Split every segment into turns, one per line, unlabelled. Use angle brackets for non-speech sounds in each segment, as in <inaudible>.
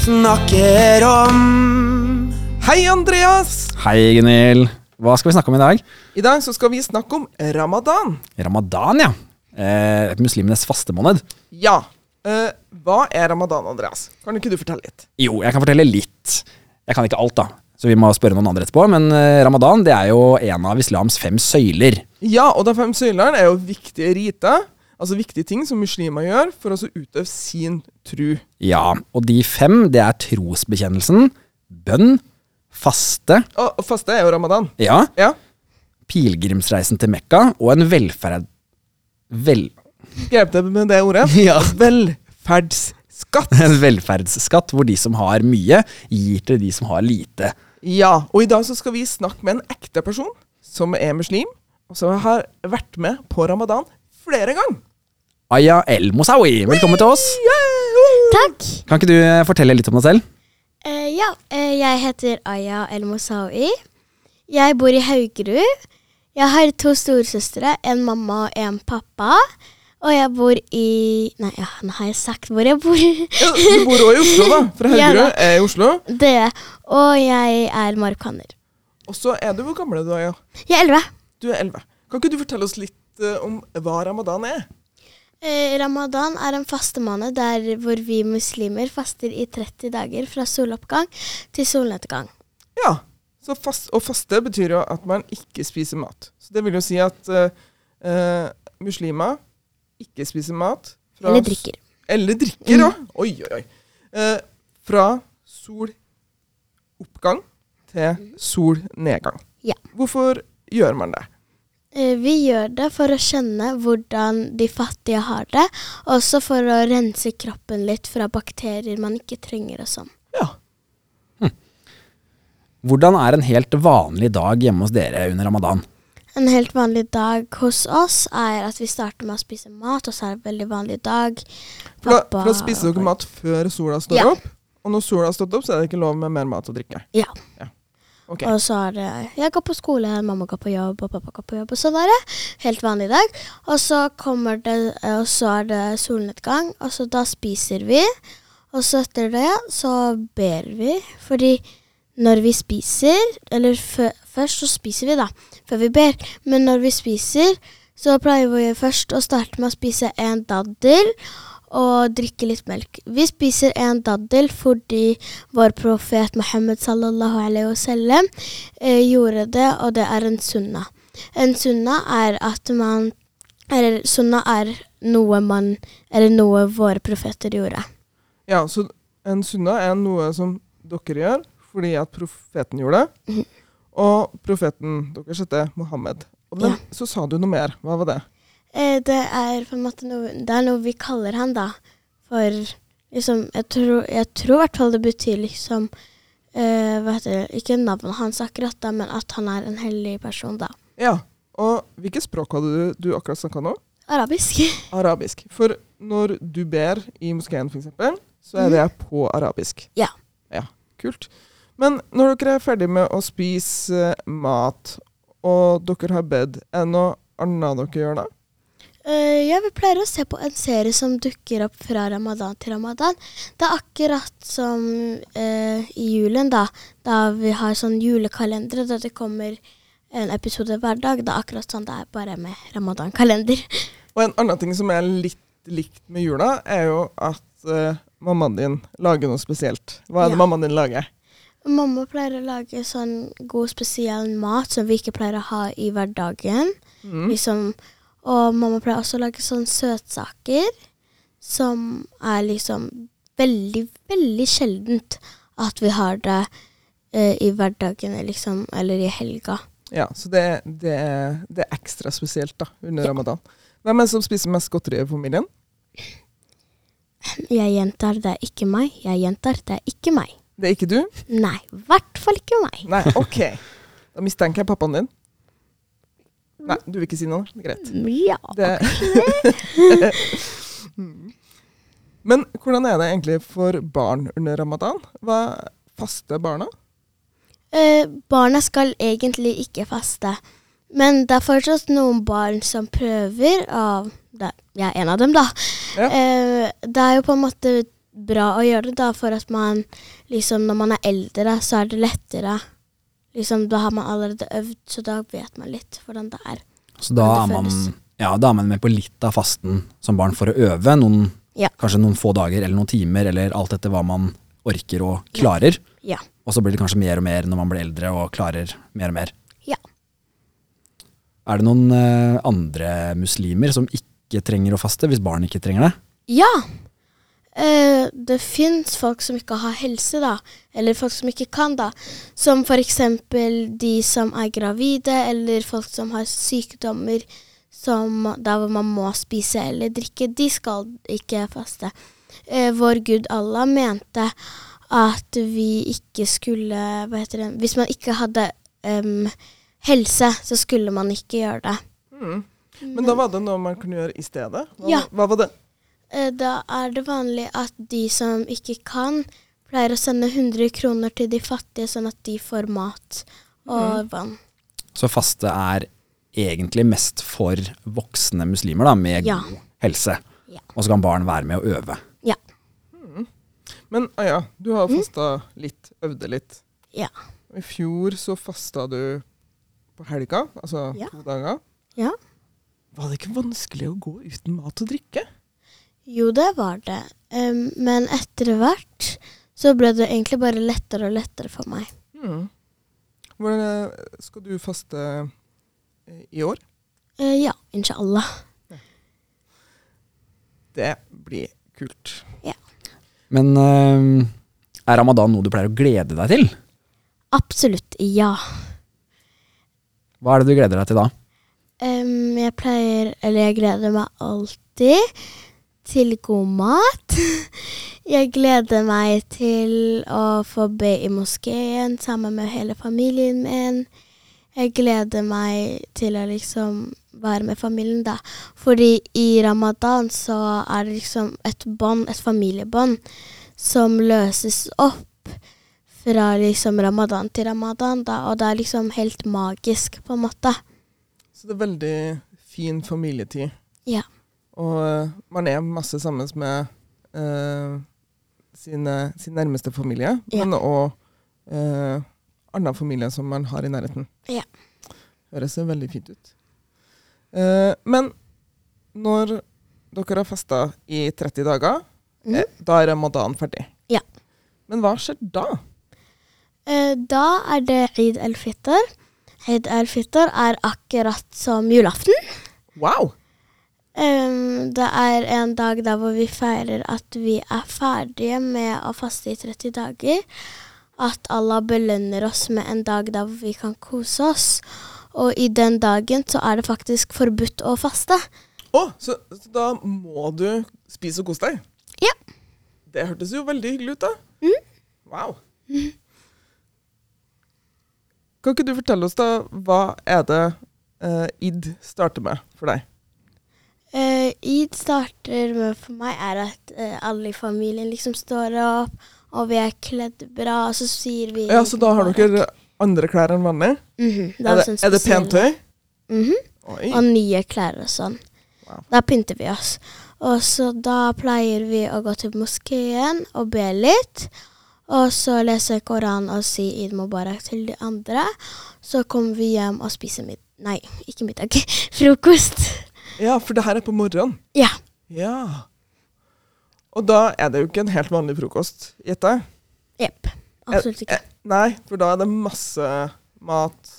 snakker om. Hei, Andreas!
Hei, Gunhild. Hva skal vi snakke om i dag?
I dag så skal vi snakke om ramadan.
Ramadan, ja. Eh, muslimenes fastemåned.
Ja. eh, hva er ramadan, Andreas? Kan ikke du fortelle litt?
Jo, jeg kan fortelle litt. Jeg kan ikke alt, da. Så vi må spørre noen andre etterpå. Men eh, ramadan det er jo en av islams fem søyler.
Ja, og de fem søylene er jo viktige riter, altså viktige ting som muslimer gjør for å så utøve sin tru.
Ja, og de fem det er trosbekjennelsen, bønn, faste,
Og og faste er jo ramadan.
ja,
Ja.
pilegrimsreisen til Mekka og en velferd... Vel... <laughs>
Grep det med det ordet?
Ja.
Velferdsskatt.
En velferdsskatt hvor de som har mye, gir til de som har lite.
Ja, og i dag så skal vi snakke med en ekte person som er muslim, og som har vært med på ramadan flere ganger.
Aya El Mosawi, velkommen til oss.
Takk.
Kan ikke du eh, fortelle litt om deg selv?
Eh, ja, eh, jeg heter Aya El Mosawi. Jeg bor i Haugerud. Jeg har to storesøstre, en mamma og en pappa. Og jeg bor i Nei, ja, nå har jeg sagt hvor jeg bor. <laughs>
Ja, Du bor også i Oslo, da. Fra
Ja,
Haugerud
da.
er i Oslo.
Det. Og jeg er marokkaner.
Og så er du Hvor gammel er du, Aya?
Jeg er elleve.
Du er 11. Kan ikke du fortelle oss litt eh, om hva ramadan er?
Eh, Ramadan er en fastemåned der hvor vi muslimer faster i 30 dager fra soloppgang til solnedgang.
Ja. Så fast, og faste betyr jo at man ikke spiser mat. Så det vil jo si at eh, eh, muslimer ikke spiser mat fra
Eller drikker. Mm.
Eller drikker, ja. Oi, oi, oi. Eh, fra soloppgang til solnedgang.
Mm. Ja.
Hvorfor gjør man det?
Eh, Vi gjør det for å skjønne hvordan de fattige har det, og også for å rense kroppen litt fra bakterier man ikke trenger og sånn.
Ja.
Hvordan er en helt vanlig dag hjemme hos dere under ramadan?
En helt vanlig dag hos oss er at vi starter med å spise mat, og så er det en veldig vanlig dag.
For da, for da spiser dere mat før sola står
Ja.
opp. Og når sola har stått opp, så er det ikke lov med mer mat og drikke.
Ja.
Ok.
Og så er det Jeg går på skole, mamma går på jobb, og pappa går på jobb, og sånn er det. Helt vanlig dag. Og så kommer det Og så er det solnedgang, og så da spiser vi. Og så etter det så ber vi, fordi når vi spiser Eller fø- først så spiser vi, da, før vi ber. Men når vi spiser, så pleier vi først å starte med å spise en daddel. Og drikke litt melk. Vi spiser en daddel fordi vår profet Muhammed sallallahu alaihi wasallam eh, gjorde det, og det er en sunna. En sunna er at man Eller sunna er noe man Eller noe våre profeter gjorde.
Ja, så en sunna er noe som dere gjør fordi at profeten gjorde det.
Mhm.
Og profeten deres heter Mohammed. Og den,
Ja.
så sa du noe mer. Hva var det?
Eh, det er på en måte noe Det er noe vi kaller han, da. For liksom Jeg tror jeg tror i hvert fall det betyr liksom eh, Hva heter det Ikke navnet hans akkurat, da, men at han er en hellig person, da.
Ja. Og hvilket språk hadde du, du akkurat snakka nå?
Arabisk. <laughs>
Arabisk. For når du ber i moskeen, f.eks., så er det på arabisk.
Mhm. Ja.
Ja, Kult. Men når dere er ferdig med å spise eh, mat, og dere har bedt, er det noe annet dere gjør da?
Eh, ja, vi pleier å se på en serie som dukker opp fra ramadan til ramadan. Det er akkurat som eh, i julen, da. Da vi har sånn julekalendere der det kommer en episode hver dag. Det er akkurat sånn det er, bare med ramadan-kalender.
Og en annen ting som er litt likt med jula, er jo at eh, mammaen din lager noe spesielt. Hva er det
Ja.
mammaen din lager?
Mamma pleier å lage sånn god, spesiell mat som vi ikke pleier å ha i hverdagen. Liksom, og mamma pleier også å lage sånne søtsaker som er liksom veldig, veldig sjeldent at vi har det eh, i hverdagen liksom, eller i helga.
Ja, så det, det, er- det er ekstra spesielt da, under ramadan. Hvem er det som spiser mest godteri i familien?
Jeg gjentar det er ikke meg. Jeg gjentar det er ikke meg.
Det er ikke du?
Nei, i hvert fall ikke meg.
Nei, ok. Da mistenker jeg pappaen din. Nei, du vil ikke si noe? Greit.
Ja.
Det. <laughs> Mm. Men hvordan er det egentlig for barn under ramadan? Hva faster barna?
Eh, barna skal egentlig ikke faste. Men det er fortsatt noen barn som prøver, og det, jeg er en av dem, da.
Ja.
Eh, det er jo på en måte bra å gjøre det, da, for at man liksom Når man er eldre, så er det lettere. Liksom, da har man allerede øvd, så da vet man litt hvordan det er.
Så da er
Det
man,
føles.
ja, da er man med på litt av fasten som barn for å øve. Noen,
Ja.
Kanskje noen få dager eller noen timer, eller alt etter hva man orker og klarer.
Ja.
Og så blir det kanskje mer og mer når man blir eldre og klarer mer og mer.
Ja.
Er det noen eh, andre muslimer som ikke trenger å faste, hvis barn ikke trenger det?
Ja. Eh, det fins folk som ikke har helse, da. Eller folk som ikke kan, da. Som f.eks. de som er gravide, eller folk som har sykdommer som, der hvor man må spise eller drikke. De skal ikke faste. Eh, vår gud Allah mente at vi ikke skulle Hva heter det Hvis man ikke hadde em, helse, så skulle man ikke gjøre det.
Mm. Men da var det noe man kunne gjøre i stedet? Hva,
Ja.
hva var det?
Eh, Da er det vanlig at de som ikke kan, pleier å sende 100 kroner til de fattige, sånn at de får mat og vann.
Så faste er egentlig mest for voksne muslimer da, med
Ja.
god helse.
Ja.
Og så kan barn være med å øve.
Ja.
Men Aya, du har fasta litt, øvde litt.
Mm. Ja.
I fjor så fasta du på helga, altså
Ja.
to dager.
Ja.
Var det ikke vanskelig å gå uten mat og drikke?
Jo, det var det. Um, men etter hvert så ble det egentlig bare lettere og lettere for meg.
Mm. Hvordan eh, skal du faste eh, i år?
Eh, ja, inshallah.
Det blir kult.
Men eh, er ramadan noe du pleier å glede deg til?
Absolutt ja.
Hva er det du gleder deg til da?
Um, jeg pleier, eller jeg gleder meg alltid til god mat. <laughs> Jeg gleder meg til å få be i moskeen sammen med hele familien min. Jeg gleder meg til å liksom være med familien, da. Fordi i ramadan så er det liksom et bånd, et familiebånd, som løses opp fra liksom ramadan til ramadan, da. Og det er liksom helt magisk, på en måte.
Så det er veldig fin familietid.
Ja.
Og eh, man er masse sammen med eh, sine, sin nærmeste familie,
Ja.
men òg uh, annen familie som man har i nærheten.
Ja.
Høres jo veldig fint ut. Eh, men når dere har festa i 30 dager,
Mhm.
eh, da er ramadan ferdig.
Ja.
Men hva skjer da?
Eh, Da er det Eid el-Fitr. Eid el-Fitr er akkurat som julaften.
Wow!
Em, det er en dag der hvor vi feirer at vi er ferdige med å faste i 30 dager. At Allah belønner oss med en dag der hvor vi kan kose oss. Og i den dagen så er det faktisk forbudt å faste.
Å, så, så da må du spise og kose deg?
Ja.
Det hørtes jo veldig hyggelig ut, da. Wow. Kan ikke du fortelle oss, da, hva er det eh, id starter med for deg?
Eh, Eid starter med for meg er at eh, alle i familien liksom står opp, og vi er kledd bra, og så sier vi
Ja, Så da har dere andre klær enn vanlig?
Mhm, det
Er det, er
sånn
det
spesiell-
pent tøy?
Mhm,
Oi.
Og nye klær og sånn.
Wow.
Da pynter vi oss. Og så da pleier vi å gå til moskeen og be litt. Og så lese Koranen og si Eid Mubarak til de andre. Så kommer vi hjem og spiser middag Nei, ikke middag. <laughs> Frokost.
Ja, for det her er på morgenen.
Ja.
Ja. Og da er det jo ikke en helt vanlig frokost, gjetter jeg.
Jepp. Absolutt ikke.
Eh, Nei, for da er det masse mat,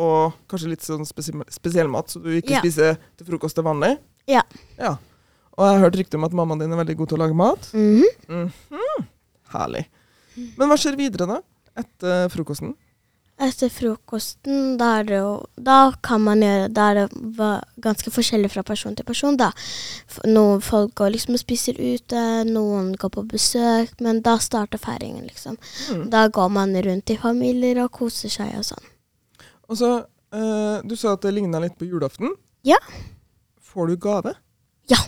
og kanskje litt sånn spesiell, spesiell mat, så du ikke
Ja.
spiser til frokost til vanlig.
Ja.
Ja. Og jeg har hørt rykte om at mammaen din er veldig god til å lage mat.
Mhm.
Herlig. Men hva skjer videre, da? Etter frokosten?
Etter frokosten, da, er det jo, da kan man gjøre Da er det va- ganske forskjellig fra person til person, da. F- Noen folk går liksom og spiser ute, noen går på besøk, men da starter feiringen, liksom.
Mm.
Da går man rundt i familier og koser seg og sånn.
Og så, eh, Du sa at det ligna litt på julaften.
Ja.
Får du gave?
Ja.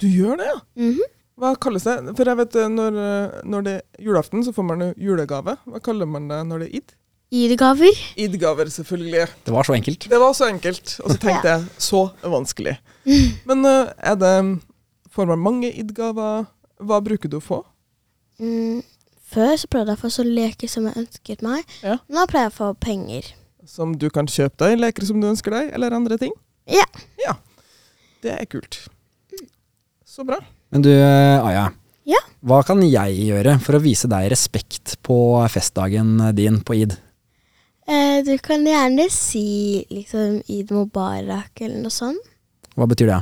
Du gjør det, ja?
Mhm.
Hva kalles det? For jeg vet eh, når, eh, når det er julaften, så får man jo julegave. Hva kaller man det når det er id?
Id-gaver.
Id-gaver, selvfølgelig.
Det var så enkelt.
Det var så enkelt, og så tenkte jeg så vanskelig. Men eh, er det Får man mange id-gaver? Hva bruker du å få?
Mm, før så prøvde jeg å få så leker som jeg ønsket meg.
Ja.
Nå pleier jeg å få penger.
Som du kan kjøpe deg, leker som du ønsker deg, eller andre ting.
Ja.
Ja. Det er kult. Så bra.
Men du, eh, Aya.
Ja?
Hva kan jeg gjøre for å vise deg respekt på festdagen din på id?
Eh, du kan gjerne si liksom Eid Mubarak eller noe sånt.
Hva betyr det?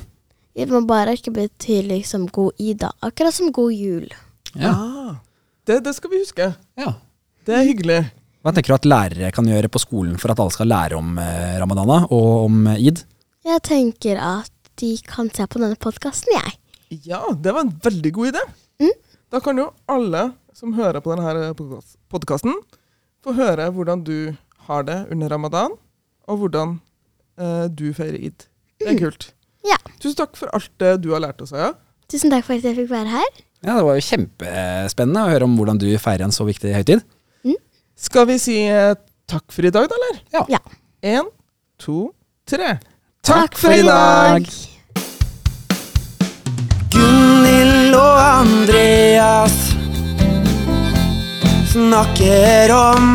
Eid Mubarak betyr liksom god id, da. Akkurat som god jul.
Ah, det, det skal vi huske.
ja.
Det er hyggelig.
Hva tenker du at lærere kan gjøre på skolen for at alle skal lære om eh, ramadana og om eh, id?
Jeg tenker at de kan se på denne podkasten, jeg.
Ja, det var en veldig god idé.
Mm.
Da kan jo alle som hører på denne eh, podkasten, få høre hvordan du har det under ramadan, og hvordan eh, du feirer id. Det er kult.
Ja.
Tusen takk for alt det du har lært oss, Aya.
Tusen takk for at jeg fikk være her.
Ja, Det var jo kjempespennende å høre om hvordan du feirer en så viktig høytid.
Skal vi si eh, takk for i dag, da, eller?
Ja.
Ja.
En, to, tre.
Gunhild og Andreas snakker om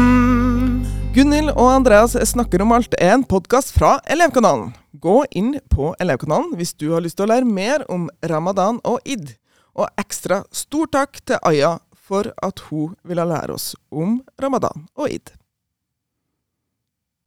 Gunhild og Andreas snakker om alt er en podkast fra Elevkanalen. Gå inn på Elevkanalen hvis du har lyst til å lære mer om ramadan og id. Og ekstra stor takk til Aya for at hun ville lære oss om ramadan og id.